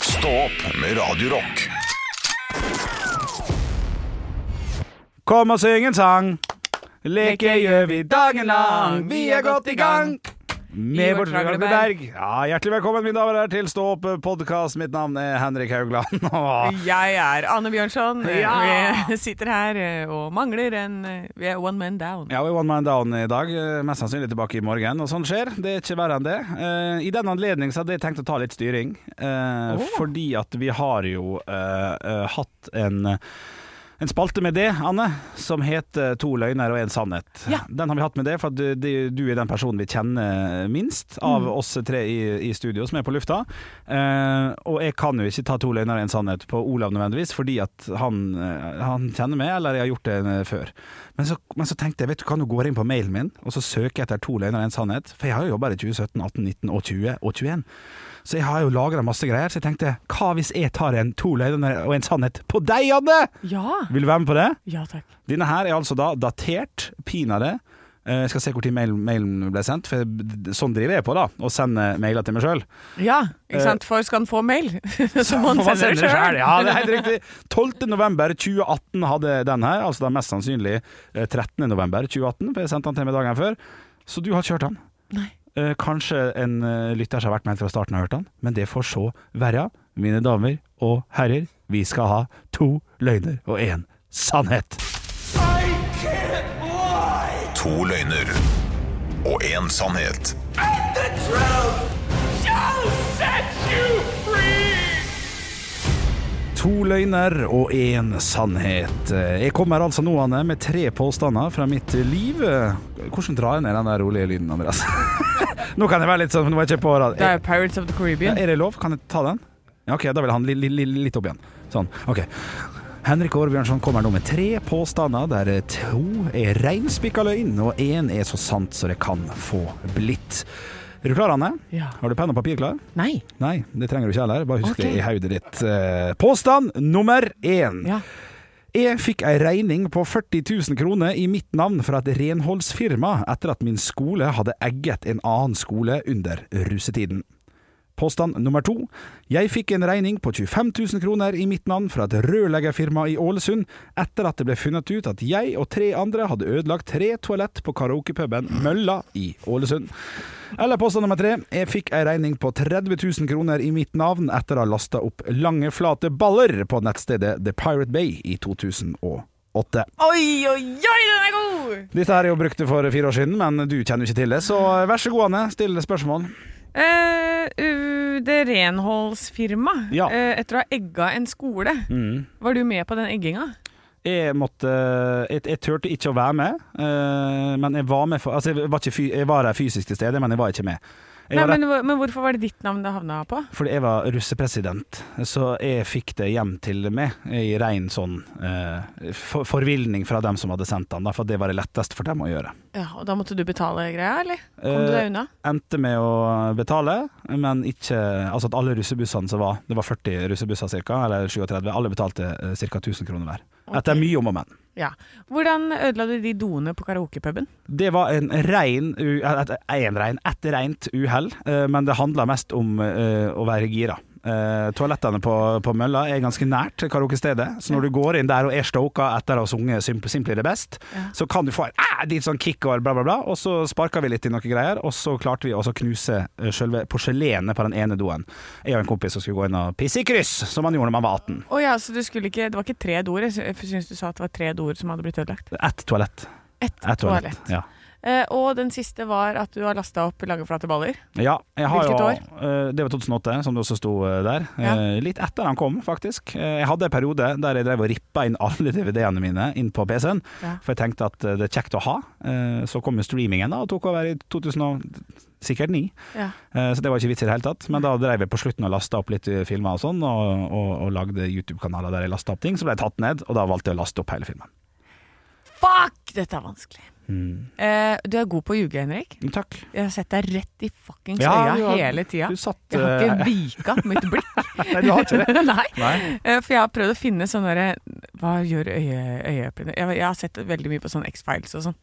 Stå opp med Radio Rock. Kom og syng en sang. Leke gjør vi dagen lang. Vi er godt i gang. Med I vårt vårt tragle tragle berg. Ja, hjertelig velkommen, mine damer og herrer, til Stå opp-podkast. Mitt navn er Henrik Haugland. Og Jeg er Anne Bjørnson. Ah. Ja! Vi sitter her eh, og mangler en eh, Vi er one man down. ja, vi er one man down i dag. eh, Mest sannsynlig tilbake i morgen. Og sånn skjer. Det er ikke verre enn det. Eh, I den anledning så hadde jeg tenkt å ta litt styring. eh, Åh. Fordi at vi har jo eh, eh, hatt en en spalte med det, Anne, som heter To løgner og en sannhet. Ja. Den har vi hatt med det, for at du, du- du er den personen vi kjenner minst av Mm. oss tre i, i studio som er på lufta. Eh, og jeg kan jo ikke ta To løgner og en sannhet på Olav nødvendigvis, fordi at han, eh, han kjenner meg, eller jeg har gjort det eh, før. Men så, men så tenkte jeg, vet du hva, nå går jeg inn på mailen min, og så søker jeg etter To løgner og en sannhet, for jeg har jo jobba i 2017, 18, 19 og 20 og 21. Så jeg har jo lagra masse greier, så jeg tenkte, hva hvis jeg tar en To løgner og en sannhet på deg, Anne? Ja. Vil du være med på det? Ja takk. Denne her er altså da datert, pinadø. Eh, Jeg skal se hvor tid mail, mailen ble sendt, for jeg- sånn driver jeg på, da. Å sende mailer til meg sjøl. Ja, ikke Eh, sant? For skal han få mail, så må han sende det sjøl. Ja, det er helt riktig. 12.11.2018 hadde den her, altså da mest sannsynlig eh, 13.11.2018, for jeg sendte den til meg dagen før. Så du har kjørt den. Nei. Eh, Kanskje en eh, lytter som har vært med fra starten og hørt den, men det får så være. Mine damer og herrer, vi skal ha to løgner og én sannhet. To løgner og én sannhet. To løgner og én sannhet. Jeg kommer altså nå, Anne, med tre påstander fra mitt liv. Hvordan drar jeg ned den der rolige lyden, Andreas? nå kan jeg være litt sånn, nå er jeg ikke på rad. Det er jo Pirates of the Caribbean. Er det lov? Kan jeg ta den? Ja, ok, da vil han li, li, li, litt opp igjen. Sånn, ok. Henrik Årbjørnson kommer nå med tre påstander, der to er reinspikka løgn, og én er så sant så det kan få blitt. Er du klar, Anne? Ja. Har du penn og papir klar? Nei. Nei, det trenger du ikke heller. Bare husk Ok. det i hodet ditt. Eh, Påstand nummer én. Ja. Jeg fikk ei regning på 40 000 kroner i mitt navn fra et renholdsfirma etter at min skole hadde egget en annen skole under russetiden. Påstand nummer to. Jeg fikk en regning på 25 000 kroner i mitt navn fra et rørleggerfirma i Ålesund etter at det ble funnet ut at jeg og tre andre hadde ødelagt tre toalett på karaokepuben Mølla i Ålesund. Eller påstand nummer tre. Jeg fikk ei regning på 30 000 kroner i mitt navn etter å ha lasta opp lange, flate baller på nettstedet The Pirate Bay i 2008. Oi, oi, oi, den er god! Dette her er jo brukt for fire år siden, men du kjenner jo ikke til det, så vær så god, Anne. Still spørsmål. Eh, uh, det renholdsfirma, Ja. Mm. eh, etter å ha egga en skole, var du med på den egginga? Jeg måtte Jeg, jeg turte ikke å være med, eh, men jeg var med for Altså, jeg var, ikke fy, jeg var der fysisk til stede, men jeg var ikke med. Jeg Nei, var der- men, hvor- men hvorfor var det ditt navn det havna på? Fordi jeg var russepresident, så jeg fikk det hjem til meg i rein sånn eh, for forvilning fra dem som hadde sendt den, da, for det var det letteste for dem å gjøre. Ja, og da måtte du betale greia, eller? Kom du Eh, deg unna? Endte med å betale, men ikke Altså at alle russebussene som var, det var 40 russebusser ca., eller 37, alle betalte eh, ca. 1000 kroner hver. Etter mye om og men. Ja. Hvordan ødela du de doene på karaokepuben? Det var en rein, u- et, en rein, et rent uhell, eh, men det handla mest om eh, å være gira. Eh, toalettene på, på Mølla er ganske nært karaokestedet, så når du går inn der og er stoka etter å ha sunget Sim- 'Simply the Best', så kan du få en ah, litt sånn kick og bla, bla, bla, og så sparka vi litt i noen greier, og så klarte vi også å knuse eh, selve porselenet på den ene doen. Jeg og en kompis som skulle gå inn og pisse i kryss, som man gjorde når man var 18. Å ja, så du skulle ikke, det var ikke tre doer? Jeg sy- jeg syns du sa at det var tre doer som hadde blitt ødelagt. Ett toalett. Ett Et toalett. toalett. Ja. Eh, og den siste var at du har lasta opp lange, flate baller. Ja, jeg har Hvilket jo, år? eh, Det var 2008, som det også sto eh, der. Ja. Eh, Litt etter han kom, faktisk. Eh, Jeg hadde en periode der jeg drev og rippa inn alle DVD-ene mine inn på PC-en, Ja. for jeg tenkte at eh, det er kjekt å ha. Eh, Så kom jo streamingen da, og tok over i 2009. Ja. Eh, Så det var ikke vits i det hele tatt. Men da drev jeg på slutten og lasta opp litt eh, filmer og sånn, og, og, og lagde YouTube-kanaler der jeg lasta opp ting. Så ble jeg tatt ned, og da valgte jeg å laste opp hele filmen. Fuck! Dette er vanskelig. Hmm. Eh, du er god på å ljuge, Henrik. Men Takk. Jeg har sett deg rett i fuckings Ja, øya du har- hele tida. Du satt Jeg har eh, ikke vika mitt blikk. Nei, du har ikke det. Nei. Nei. Eh, For jeg har prøvd å finne sånne der, Hva gjør øye- øyeeplene? Jeg, jeg har sett veldig mye på sånn X-Files og sånn.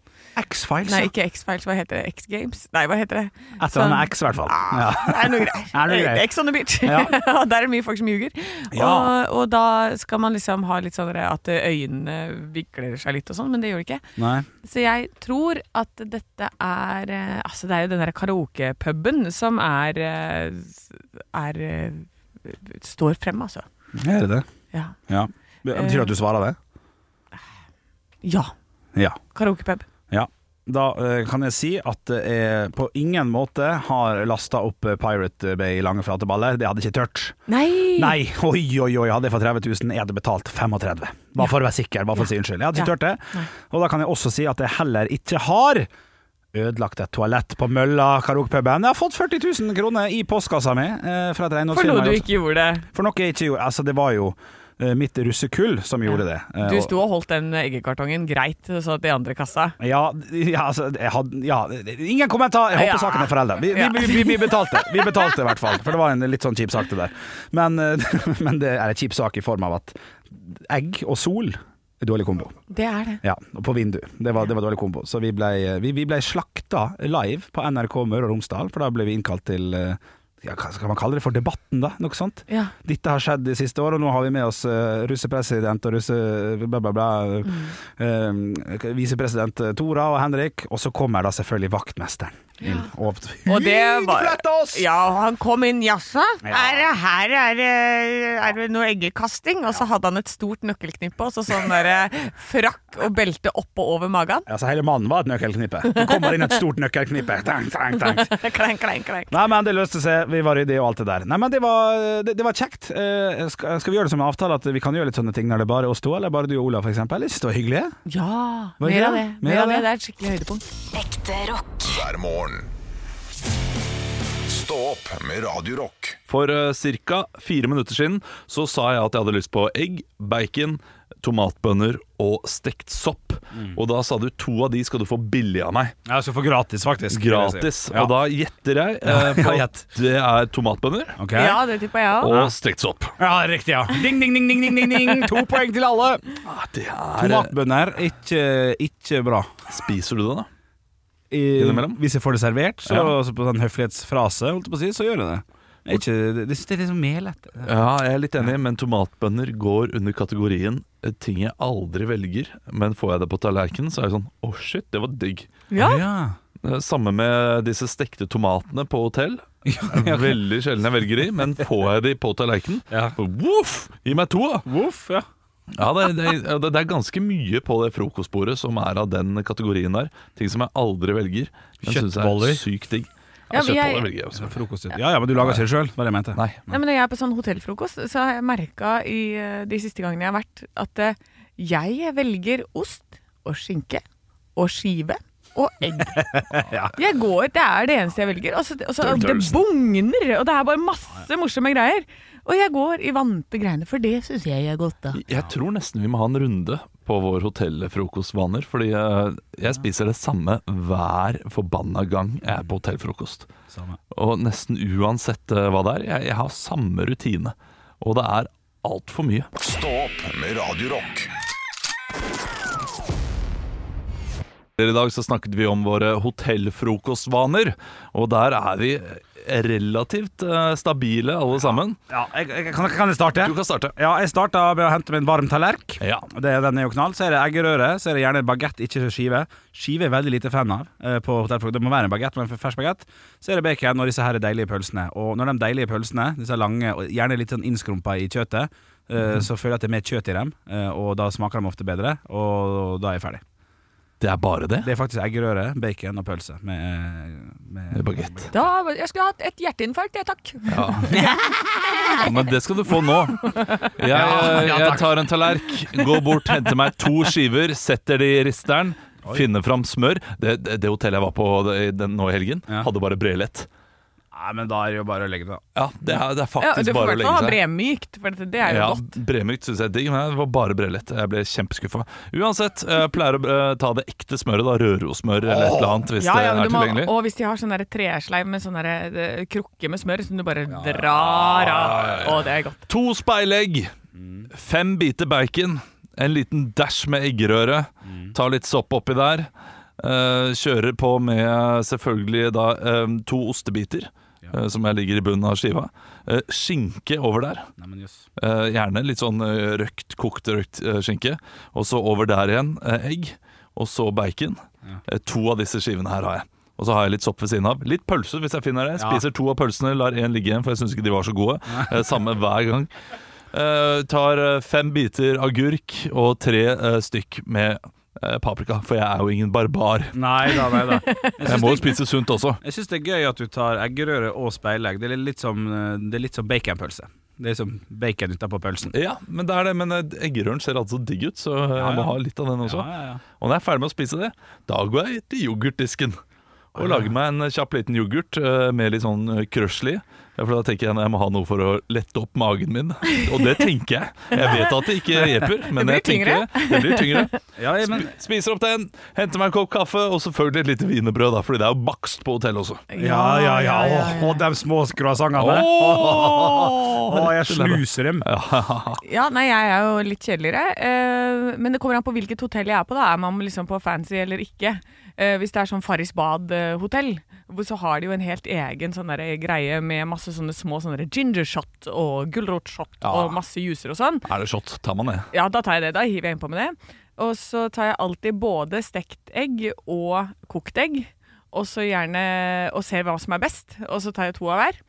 X-Files, Nei, ja. ikke X-Files, hva heter det? X-Games? Nei, hva heter det? Etter han sånn- er X, i hvert fall. Ja. Det er noe greier. Er det noe greier? X on the beach. Ja. Og der er det mye folk som ljuger. Ja. Og, og da skal man liksom ha litt sånn at øynene vikler seg litt og sånn, men det gjør det ikke. Nei. Så jeg tror at dette er eh, Altså, det er jo den der karaokepuben som er eh, s- Er eh, Står frem, altså. Er det det? Ja. Ja. Betyr det at du svarer det? ja Ja. karaokepub. Ja. Da eh, kan jeg si at jeg på ingen måte har lasta opp eh, Pirate Bay i lange flateballer. Det hadde jeg ikke tørt. Nei! Nei, oi, oi, oi. Hadde jeg fått 30 000, jeg hadde betalt 35 Bare for å være sikker, bare for å si unnskyld. Jeg hadde ikke Ja. tørt det. Og da kan jeg også si at jeg heller ikke har ødelagt et toalett på Mølla karaokepuben. Jeg har fått 40 000 kroner i postkassa mi eh, fra et For noe renholdsfirma. du jeg også- ikke gjorde. For noe jeg ikke gjorde. Altså, det var jo eh, mitt russekull som gjorde det. Eh, Du og- sto og holdt den eggekartongen greit, så at de andre kassa Ja, ja, altså jeg hadde, ja, Ingen kommentar! Jeg håper Ja. saken er foreldet. Vi, Ja. vi, vi, vi betalte, Vi betalte i hvert fall. For det var en litt sånn kjip sak, det der. Men, eh, men det er en kjip sak i form av at egg og sol er dårlig kombo. Det er det. Ja, og på vindu. Det var, det var dårlig kombo. Så vi ble, vi, vi ble slakta live på NRK Møre og Romsdal, for da ble vi innkalt til eh, ja, Hva skal man kalle det for debatten, da? Noe sånt? Ja. Dette har skjedd de siste år, og nå har vi med oss eh, russepresident og russe... bla, bla, bla. Mm. eh, visepresident eh, Tora og Henrik, og så kommer da selvfølgelig vaktmesteren inn. Og, Og det var Hudflette oss! Ja, han kom inn, jaså? Ja. Er det her er, det- er det noe eggekasting? Og så hadde han et stort nøkkelknippe og så sånn der eh, frakk og belte opp og over magen. Altså, hele mannen var et nøkkelknippe. Det kommer inn et stort nøkkelknippe. Tank, tank, tank. klein, klein, klein. Nei, men det løste seg. Vi var ryddige og alt det der. Nei, men det var, det, det var kjekt. Eh, skal, skal vi gjøre det som en avtale at vi kan gjøre litt sånne ting når det er bare er oss to, eller bare du og Olav, for eksempel? Jeg synes det var hyggelig. Ja, Var det mer av det? det. Mer Mer av av det. det? Det er et skikkelig høydepunkt. Ekte rock. hver morgen. Stå opp med Radio Rock. For uh, ca. fire minutter siden så sa jeg at jeg hadde lyst på egg, bacon, tomatbønner og stekt sopp. Og da sa du to av de skal du få billig av meg. Ja, så for gratis, faktisk. Gratis. Og da gjetter jeg eh, på Ja, at det er tomatbønner Ja, det tippa jeg òg. og stekt sopp. Ja, riktig, ja. Ding, ding, ding, ding, ding, ding, ding. To poeng til alle. Ah, det er Tomatbønner, ikke, ikke bra. Spiser du det, da? I, Innimellom? hvis jeg får det servert, så Ja. så på sånn høflighetsfrase, holdt jeg på å si, så gjør jeg det. Jeg er Ikke, det, det det er liksom melete. Ja, jeg er litt enig, men tomatbønner går under kategorien eh, ting jeg aldri velger. Men får jeg det på tallerkenen, så er jeg sånn Å, shit, det var digg. Ja. ja. Eh, Samme med disse stekte tomatene på hotell. Det er Veldig sjelden jeg velger de, men får jeg de på tallerkenen Ja. Voff! Gi meg to, da! Voff, ja. Ja, det, det, det det er ganske mye på det frokostbordet som er av den kategorien der. Ting som jeg aldri velger, men syns Kjøttboller. er sykt digg. Ja, Ja, men jeg- Kjøttboller velger jeg også. Frokost. Ja, ja, men du lager ikke det sjøl, var det jeg mente. Nei. Nei, men når jeg er på sånn hotellfrokost, så har jeg merka i eh, de siste gangene jeg har vært, at eh, jeg velger ost og skinke og skive. Og egg. Jeg går, Det er det eneste jeg velger. Og så, og så, det bugner, og det er bare masse morsomme greier. Og jeg går i vante greiene, for det syns jeg er godt, da. Jeg tror nesten vi må ha en runde på vår hotellfrokostvaner, fordi eh, jeg spiser det samme hver forbanna gang jeg er på hotellfrokost. Samme. Og nesten uansett eh, hva det er, jeg, jeg har samme rutine. Og det er altfor mye. Stå opp med Radio Rock I dag så snakket vi om våre hotellfrokostvaner, og der er vi relativt eh, stabile alle sammen. Ja, jeg, jeg, kan, kan jeg starte? Du kan starte. Ja, jeg starta med å hente min varm tallerk. Ja. Og Det, den er jo knall. Så er det eggerøre. Så er det gjerne bagett, ikke skive. Skive er jeg veldig lite fan av. eh, På hotellfrokost. det må være en bagett, men fersk bagett. Så er det bacon og disse her deilige pølsene. Og når de deilige pølsene, disse lange, og gjerne litt sånn innskrumpa i kjøttet, eh, Mhm. så føler jeg at det er mer kjøtt i dem, eh, og da smaker de ofte bedre. Og da er jeg ferdig. Det er bare det. Det er faktisk eggerøre, bacon og pølse med, Med med bagett. da jeg skulle hatt et hjerteinfarkt, jeg, takk. Ja, men det skal du få nå. Jeg, jeg tar en tallerk, går bort, henter meg to skiver, setter de i risteren, finner fram smør. Det, det, det hotellet jeg var på i den, nå i helgen, Ja. hadde bare brelett. Nei, men da er det jo bare å legge det. da. Ja, det er, det er Ja, faktisk du får i bare å hvert legge fall ha seg. bremykt, for dette, det er jo Ja, godt. Bremykt syns jeg er digg, men det var bare brelett. Jeg ble kjempeskuffa. Uansett, jeg pleier å eh, ta det ekte smøret, da. Rørosmør eller et eller annet, hvis Ja, ja, det men er du må, tilgjengelig. og hvis de har sånn der tresleiv med sånn der, eh, krukke med smør som du bare drar av. Å, det er godt. To speilegg, fem biter bacon, En liten dash med eggerøre. Ta litt sopp oppi der. eh, kjører på med selvfølgelig da eh, to ostebiter, eh, som jeg ligger i bunnen av skiva. Eh, skinke over der. Nei, men jøss. Eh, gjerne litt sånn eh, røkt, kokt røkt eh, skinke. Og så over der igjen eh, egg, og så bacon. Eh, to av disse skivene her har jeg. Og så har jeg litt sopp ved siden av. Litt pølse hvis jeg finner det. Ja. Spiser to av pølsene, lar én ligge igjen, for jeg syns ikke de var så gode. Eh, samme hver gang. Eh, tar eh, fem biter agurk og tre eh, stykk med eh, paprika, for jeg er jo ingen barbar. Nei da, nei da. Jeg Jeg må jo syns det, spise sunt også. jeg syns det er gøy at du tar eggerøre og speilegg. Det er litt som, eh, det er litt som baconpølse. Det er som bacon utapå pølsen. Ja, men det er det, men eh, eggerøren ser altså digg ut, så eh, Ja, jeg ja. må ha litt av den også. Ja, ja, ja. Og når jeg er ferdig med å spise det, da går jeg til yoghurtdisken. Og lager meg en kjapp liten yoghurt eh, med litt sånn eh, krøsli. Ja, For da tenker jeg at jeg må ha noe for å lette opp magen min. Og det tenker jeg. Jeg vet at det ikke hjelper, men Det blir jeg tenker det. Det blir tyngre. Ja, ja, men, Spiser opp den, henter meg en kopp kaffe og selvfølgelig et lite wienerbrød, da, fordi det er jo bakst på hotellet også. ja, ja, ja. Åh, Og de små croissantene. Å, Åh! jeg sluser dem. Ja, nei, jeg er jo litt kjedeligere. eh, men det kommer an på hvilket hotell jeg er på. da Er man liksom på fancy eller ikke? Eh, hvis det er sånn Farris Bad-hotell, så har de jo en helt egen sånn der greie med masse sånne små sånne der ginger shot og gulrotshot Ja. og masse juicer og sånn. Er det shot, tar man det. Ja, da tar jeg det. Da hiver jeg innpå med det. Og så tar jeg alltid både stekt egg og kokt egg. Og så gjerne Og ser hva som er best. Og så tar jeg to av hver.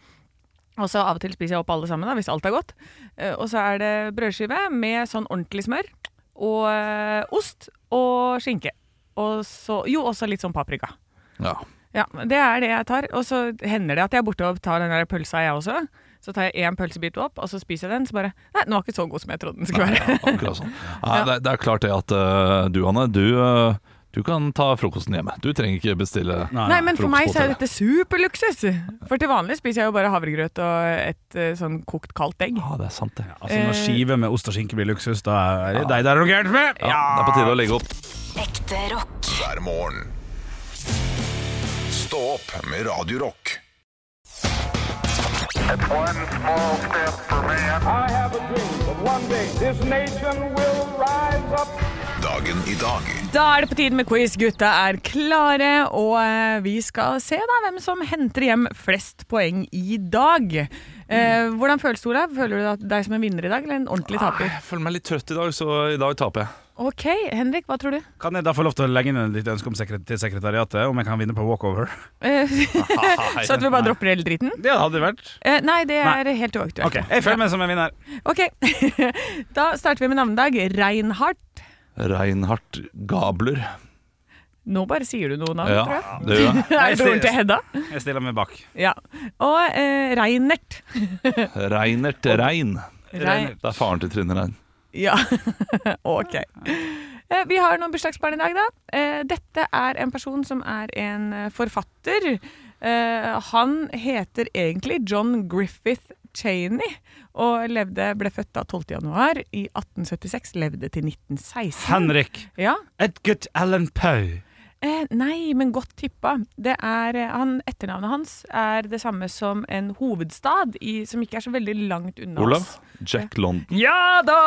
Og så av og til spiser jeg opp alle sammen, da, hvis alt er godt. Eh, Og så er det brødskive med sånn ordentlig smør. Og eh, ost og skinke. Og så Jo, også litt sånn paprika. Ja. Ja, det er det jeg tar. Og så hender det at jeg er borte og tar den der pølsa, jeg også. Så tar jeg én pølsebit opp, og så spiser jeg den. Så bare Nei, den var ikke så god som jeg trodde den skulle være. Akkurat sånn. Nei, det, det er klart det at eh, du, Anne, du, eh, du kan ta frokosten hjemme. Du trenger ikke bestille Nei, men for meg så er frokosthotellet. dette superluksus. For til vanlig spiser jeg jo bare havregrøt og et eh, sånn kokt kaldt egg. Ja, det er sant, det. Ja, Altså, når skive med ost og skinke blir luksus, da er det deg det er noe gærent med! Det er på tide å legge opp. Ekte rock. hver morgen. Stå opp med Radio Rock. One small step for man. I have a dream that one day this nation will rise up. Dagen i dag Da er det på tide med quiz. Gutta er klare, og eh, vi skal se da hvem som henter hjem flest poeng i dag. Eh, Mm. hvordan føles det, Olav? Føler du at deg som en vinner i dag, eller en ordentlig Ah. taper? Jeg føler meg litt trøtt i dag, så i dag taper jeg. Ok, Henrik, hva tror du? Kan jeg da få lov til å legge inn et lite ønske om sekre- til sekretariatet om jeg kan vinne på walkover? Eh, så at vi bare dropper hele driten? Det hadde vært. Eh, nei, det Nei. er helt uaktuelt. Ok, Jeg føler meg som en vinner. Ok, Da starter vi med navnedag. Reinhardt. Reinhardt Gabler. Nå bare sier du noe navn, Ja, tror jeg. det gjør jeg. Er Nei, det broren til seriøst. Hedda? Jeg stiller meg bak. Ja. Og eh, Reinert. Reinert Rein. Rein. Det er faren til Trine Rein. Ja, ok. Eh, Vi har noen bursdagsbarn i dag, da. Eh, Dette er en person som er en eh, forfatter. Eh, Han heter egentlig John Griffith Cheney og levde, ble født da 12. januar i 1876. Levde til 1916. Henrik Ja. Edgert Allan Poe. Eh, nei, men godt tippa. Det er, eh, han, etternavnet hans er det samme som en hovedstad i, som ikke er så veldig langt unna Olav. oss. Jack London. Ja da!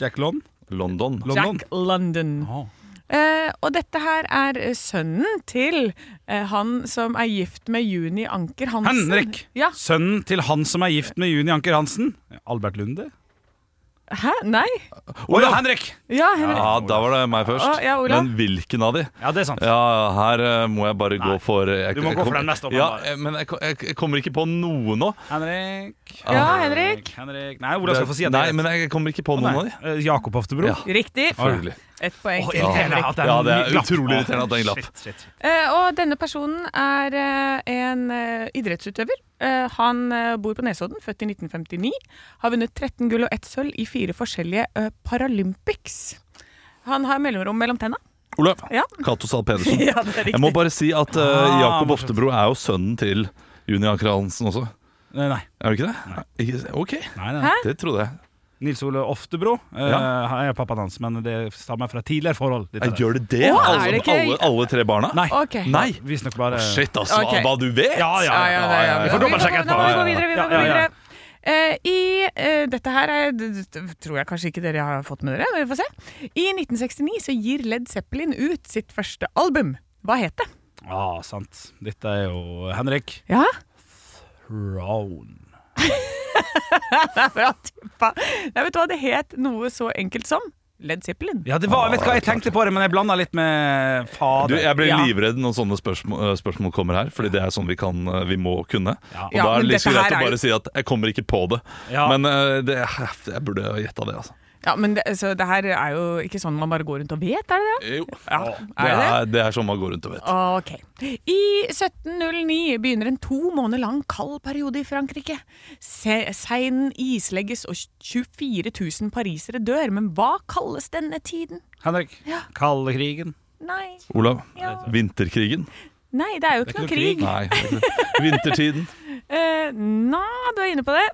Jack Lond. London. London. Jack London. Åh. Eh, og dette her er eh, sønnen til eh, han som er gift med Juni Anker Hansen. Henrik! Ja. Sønnen til han som er gift med Juni Anker Hansen. Albert Lunde? Hæ? Nei? Olav Henrik! Ja, Henrik. Ja, da var det meg først. Å, ja, Olav. Men hvilken av de? Ja, det er sant. Ja, her eh, må jeg bare gå for eh, jeg, Du må jeg gå for kom- den mest Ja, åpenbare. eh, men jeg, jeg, jeg kommer ikke på noe nå. Henrik. Ja, Henrik. Henrik. Nei, Olav skal få si at Nei, men jeg kommer ikke på noen av de. Eh, Jakob Oftebro. Ja. Riktig. Selvfølgelig. Et poeng til Irriterende Henrik. at det er Ja, en det er ny lapp. utrolig irriterende at det er en lapp. Shit, shit, shit. Eh, og denne personen er eh, en eh, idrettsutøver. Eh, han eh, bor på Nesodden, født i 1959. Har vunnet 13 gull og 1 sølv i fire forskjellige eh, Paralympics. Han har mellomrom mellom tenna. Olav. Ja. Cato Zahl Pedersen. ja, det er Jeg må bare si at eh, Ah, Jakob morsomt. Oftebro er jo sønnen til Juni Anker Hansen også. Nei, nei. Er du ikke det? Ikke, ok, nei, nei. Hæ? det trodde jeg. Nils Ole Oftebro. eh, Ja. Han er pappaen hans, men det stammer fra tidligere forhold. Dette jeg der. gjør det det? Å, er alle, det ikke- alle, alle tre barna? Nei. Ok. Nei. Visstnok bare Eh, Shit, altså, Ok. hva du vet! Ja, ja, Ja, ja. ja, ja, ja. Vi får Vi dobbeltsjekke må- Nå må vi etterpå. gå videre. Vi Ja, må gå ja, ja. videre. Eh, I eh, Dette her er, d- d- tror jeg kanskje ikke dere har fått med dere, men vi får se. I 1969 så gir Led Zeppelin ut sitt første album. Hva het det? Ah, sant. Dette er jo Henrik Ja, Brown. det er bra tippa. Nei, vet du hva, det het noe så enkelt som Led Zeppelin. Ja, det var, vet du hva, jeg tenkte på det, men jeg blanda litt med Du, fader. jeg blir Ja. livredd når sånne spørsmål, eh, spørsmål kommer her, Fordi det er sånn vi, kan, eh, vi må kunne. Og Ja, da er men det like dette her greit å er jo- bare si at 'jeg kommer ikke på det'. Ja. Men eh, det, jeg burde ha gjetta det, altså. Ja, men det, så det her er jo ikke sånn man bare går rundt og vet, er det det? Jo. Ja, Det er det det? er, det er sånn man går rundt og vet. Ok. I 1709 begynner en to måneder lang kald periode i Frankrike. Se- Seinen islegges og 24 000 parisere dør, men hva kalles denne tiden? Henrik. Ja. Kalde krigen. Nei, Olav, Ja. vinterkrigen? nei, det er jo ikke noe krig. Nei. det er ikke det. Vintertiden? Eh, Nå, du er inne på det.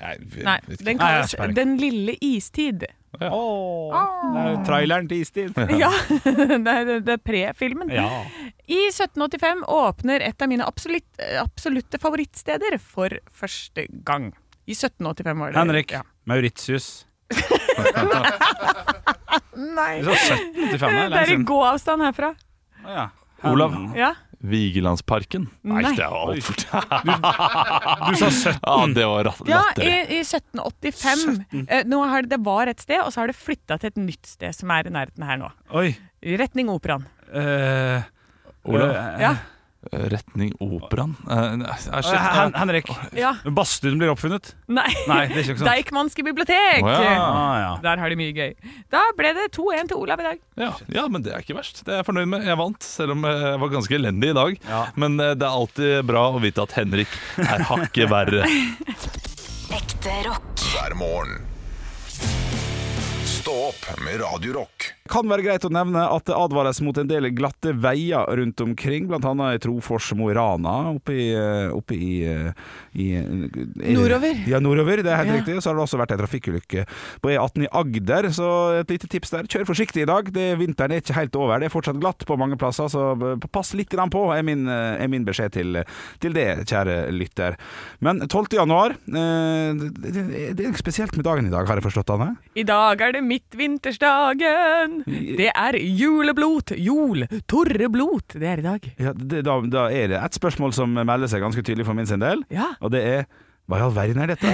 Nei, vi- Nei, vet ikke. den Nei, jeg har kalles sperring. Den lille istid. Det er jo traileren til Istid. Ja, det er, det er pre-filmen. I 1785 åpner et av mine absolutt, absolutte favorittsteder for første gang. I 1785 var det Henrik. Ja. Mauritius. Nei, Det er sånn 1785, det er det lenge er i siden. gåavstand herfra. Å, ja. Olav, Ja. Vigelandsparken? Nei, Nei. det var altfor Du sa 17. Ja, det var ratt- Ja, latterlig. i, i 1785. Eh, nå har det, det var et sted, og så har det flytta til et nytt sted som er i nærheten her nå. Oi. I retning operaen. eh, Olav, eh, Ja. retning operaen? Eh, nei, jeg eh, Hen skjønner- Henrik. ja. Badstuen blir oppfunnet. Nei. Nei, det er ikke sant. Deichmanske bibliotek! Å, ja. Ah, ja. Der har de mye gøy. Da ble det 2-1 til Olav i dag. Ja, ja, men det er ikke verst. Det er jeg fornøyd med. Jeg vant, selv om eh, jeg var ganske elendig i dag. Men eh, det er alltid bra å vite at Henrik er hakket verre. Ekte rock. hver morgen. Stå opp med Radio Rock. Kan være greit å nevne at det advares mot en del glatte veier rundt omkring, blant annet i Trofors og Mo i Rana, oppe i, eh, oppe i, i, eh, i Nordover. Ja, nordover, det er helt Ja. riktig. Så har det også vært en trafikkulykke på E18 i Agder, så et lite tips der. Kjør forsiktig i dag, det, vinteren er ikke helt over. Det er fortsatt glatt på mange plasser, så pass litt grann på, er min, eh, er min beskjed til, til det, kjære lytter. Men 12. januar, eh, det, det, det er spesielt med dagen i dag, har jeg forstått, Anne? I dag er det midtvintersdagen! Det er juleblot! Jol! Torreblot! Det er i dag. Ja, det, da, da er det et spørsmål som melder seg ganske tydelig for min sin del, Ja. og det er hva i all verden er dette?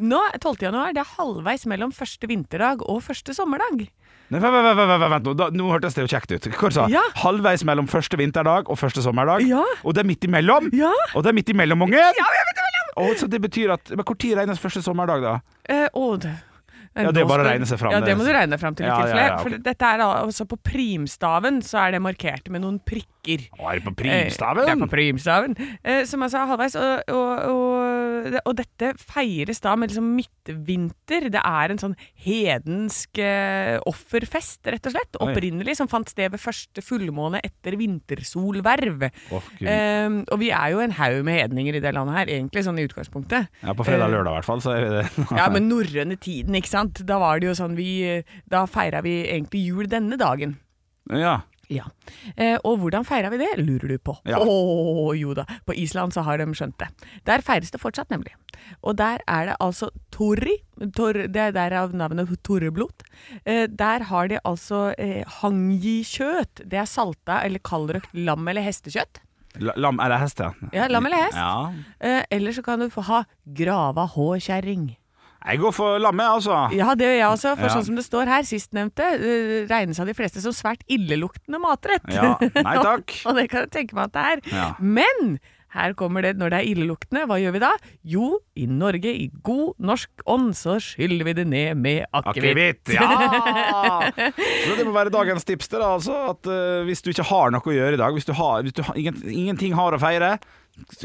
Nå, 12. januar, det er halvveis mellom første vinterdag og første sommerdag. Nei, vent, vent, vent, vent, vent nå, da, nå hørtes det jo kjekt ut. Hva sa du? Ja. Halvveis mellom første vinterdag og første sommerdag. Ja. Og det er midt imellom! Ja. Og det er midt imellom, unge! Ja, Og så det betyr at Men Når regnes første sommerdag, da? Eh, å, det. Ja, det er bare å regne seg fram, Ja, det. det må du regne deg fram til. i Ja, ja, tilfelle. ja, ok. For dette er da altså på primstaven, så er det markert med noen prikker. Å, er det på Eh, det er på primstaven. Eh, som jeg sa, halvveis. Og, og, og, og dette feires da med liksom midtvinter. Det er en sånn hedensk eh, offerfest, rett og slett. Oi. Opprinnelig, som fant sted ved første fullmåne etter vintersolverv. Å, Gud. Eh, og vi er jo en haug med hedninger i det landet her, egentlig, sånn i utgangspunktet. ja, på fredag eh, og lørdag, i hvert fall. Så er det Ja, men norrøne tiden, ikke sant? Da var det jo sånn vi Da feira vi egentlig jul denne dagen. Ja. Ja. Eh, og hvordan feira vi det, lurer du på? Ja. Å jo da, på Island så har de skjønt det. Der feires det fortsatt, nemlig. Og der er det altså Torri, tor, det er derav navnet Torreblot. Eh, der har de altså eh, hangi-kjøtt. Det er salta eller kaldrøkt lam- eller hestekjøtt. La- Lam eller hest, ja. Ja, lam eller hest. Ja. Eh, eller så kan du få ha grava håkjerring. Jeg går for lammet, altså. Ja, det gjør jeg også. For Ja. sånn som det står her, sistnevnte eh, regnes av de fleste som svært illeluktende matrett. Ja, nei takk. og det kan jeg tenke meg at det er. Ja. Men her kommer det når det er illeluktende. Hva gjør vi da? Jo, i Norge, i god norsk ånd, så skyller vi det ned med akevitt. Akevitt, ja! Så det må være dagens tips til, da, altså. At eh, hvis du ikke har noe å gjøre i dag, hvis du har, hvis du har ingen, ingenting har å feire,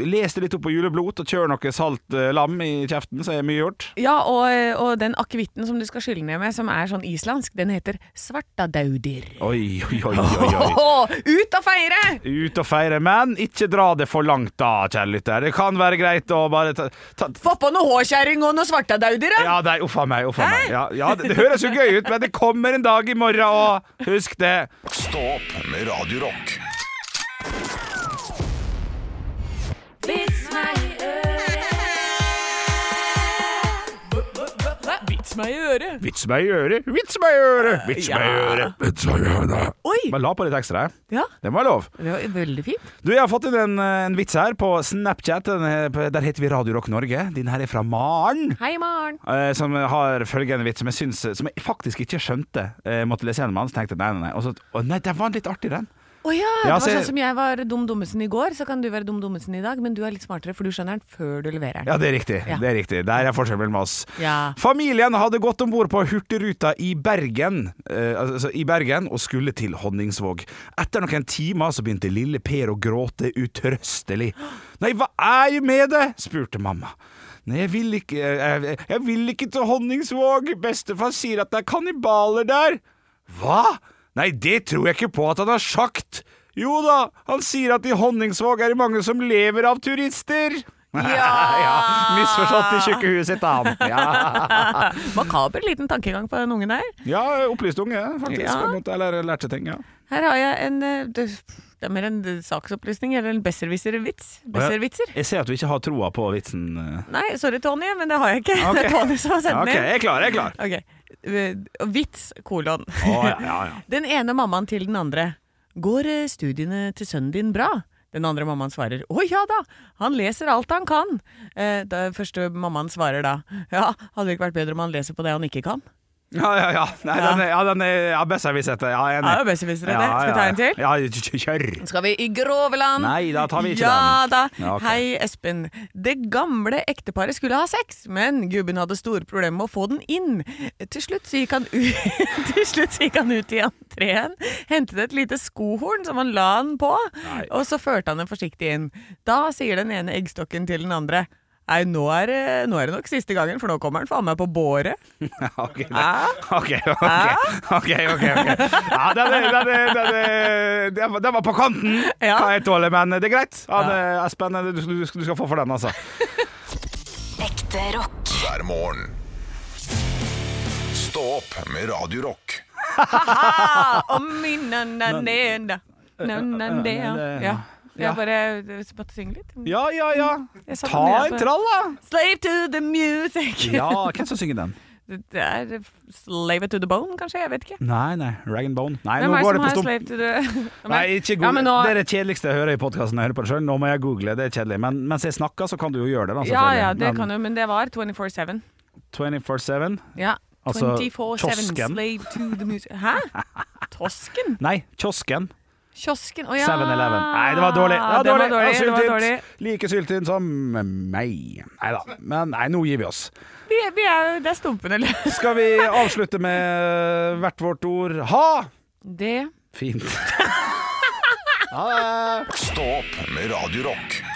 les det litt opp på juleblot og kjør noe salt eh, lam i kjeften, så er mye gjort. Ja, og, og den akevitten som du skal skylle ned med, som er sånn islandsk, den heter svartadaudir. Oi, oi, oi, oi, oi. Åh, ut og feire! Ut og feire, men ikke dra det for langt da, kjære lytter. Det kan være greit å bare ta, ta Få på noe håkjerring og noe svartadaudir, da! ja, nei, uff a meg. Uff a meg. Ja, ja, det, det høres jo gøy ut, men det kommer en dag i morgen òg. Husk det. Stå opp med Radio Rock. Vits meg i øret. Vits meg i øret! Vits meg i øret, vits meg i øret, vits meg i øret. Vits meg i øret. Oi! Bare la på litt ekstra. jeg. Ja, Det må være lov. det var veldig fint. Du, Jeg har fått inn en, en vits her på Snapchat. Den, er- der heter vi Radio Rock Norge. Din her er fra Maren. Hei, Maren. eh, Som har følgende vits som jeg, syns, som jeg faktisk ikke skjønte. Jeg måtte lese gjennom den, så tenkte jeg nei, nei, nei. Og så, å, nei, den var litt artig, den. Å ja, det Ja, var så jeg- sånn som jeg var dum dummesen i går, så kan du være dum dummesen i dag, men du er litt smartere, for du skjønner den før du leverer den. Ja, det er riktig. Ja. det er riktig Der er forskjellen mellom oss. Ja. Familien hadde gått om bord på Hurtigruta i Bergen eh, altså i Bergen og skulle til Honningsvåg. Etter noen timer så begynte lille Per å gråte utrøstelig. 'Nei, hva er jeg med det?' spurte mamma. 'Nei, jeg vil ikke jeg, jeg vil ikke til Honningsvåg. Bestefar sier at det er kannibaler der.' 'Hva?' 'Nei, det tror jeg ikke på at han har sagt.' 'Jo da, han sier at i Honningsvåg er det mange som lever av turister.' ja, misforstått i tjukke huet sitt, han. Ja. Makaber liten tankegang på den ungen her. Ja, opplyst unge, faktisk. Ja. på en måte, Eller lærte ting, ja. Her har jeg en eh, Det det er mer en eh, saksopplysning, eller en besserwisser-vits. Besserwitser. Jeg ser at du ikke har troa på vitsen. Nei, sorry, Tony, men det har jeg ikke. Det Ok. er Tony som har sendt OK, den inn. jeg er klar. jeg er klar Ok. Eh, Vits kolon. Å, ja, ja, ja. Den ene mammaen til den andre. Går eh, studiene til sønnen din bra? Den andre mammaen svarer å ja da, han leser alt han kan. Eh, den første mammaen svarer da ja, hadde det ikke vært bedre om han leser på det han ikke kan? Ja, ja, ja. Nei, Ja. Den er, ja, den er ja, best jeg vil sette. Ja, jeg er Ja, enig. det er best vi viser det. Skal vi ta en til? Ja, ja, kj- kjør. Skal vi i Groveland? Nei, da tar vi ikke ja, den. da. Ja, ok. Hei, Espen. Det gamle ekteparet skulle ha sex, men gubben hadde store problemer med å få den inn. Til slutt så gikk han, u- til slutt så gikk han ut i entreen, hentet et lite skohorn som han la den på, og så førte han den forsiktig inn. Da sier den ene eggstokken til den andre Nei, nå er, det- nå er det nok siste gangen, for nå kommer han faen meg på båret. Ok, det- Hæ? OK, OK. ok, ok, ok. Ja, den, er, den, er, den, er, den var- den var på kanten, Ja. kan jeg tåle, men det er greit. Ja, det, Espen, du, du, du skal få for den, altså. Ekte rock. hver morgen. Stå opp med Radio Rock. Ah, og minnananena. Nananea. Ja. Jeg bare måtte synge litt. Ja, ja, ja. Jeg satte Ta den ned en på- trall, da. Slave to the music. Ja, hvem som synger den? Det er eh, Slave to the bone, kanskje? Jeg vet ikke. Nei, nei, Rag and Bone. Nei, Hvem nå er det går det som på har stump. slave to the Hvem er- Nei, ikke ja, google. men nå... Det er det kjedeligste jeg hører i podkasten. Jeg hører på det selv. Nå må jeg google, det er kjedelig. Men mens jeg snakker, så kan du jo gjøre det. da, Ja ja, selvfølgelig. det Men kan jo, men det var 24-7. 24-7? Ja. Altså, 24-7 kiosken. slave to the music. Hæ? Tosken? Nei, Kiosken. Kiosken? Å ja! 7-Eleven. Nei, det var dårlig. Ja, det var dårlig. Det var dårlig. Like syltynt som meg. Nei da. Men nei, nå gir vi oss. Vi, vi er, jo- det er stumpene løs. Skal vi avslutte med hvert vårt ord ha? Det Fint. Stå opp med Radio Rock.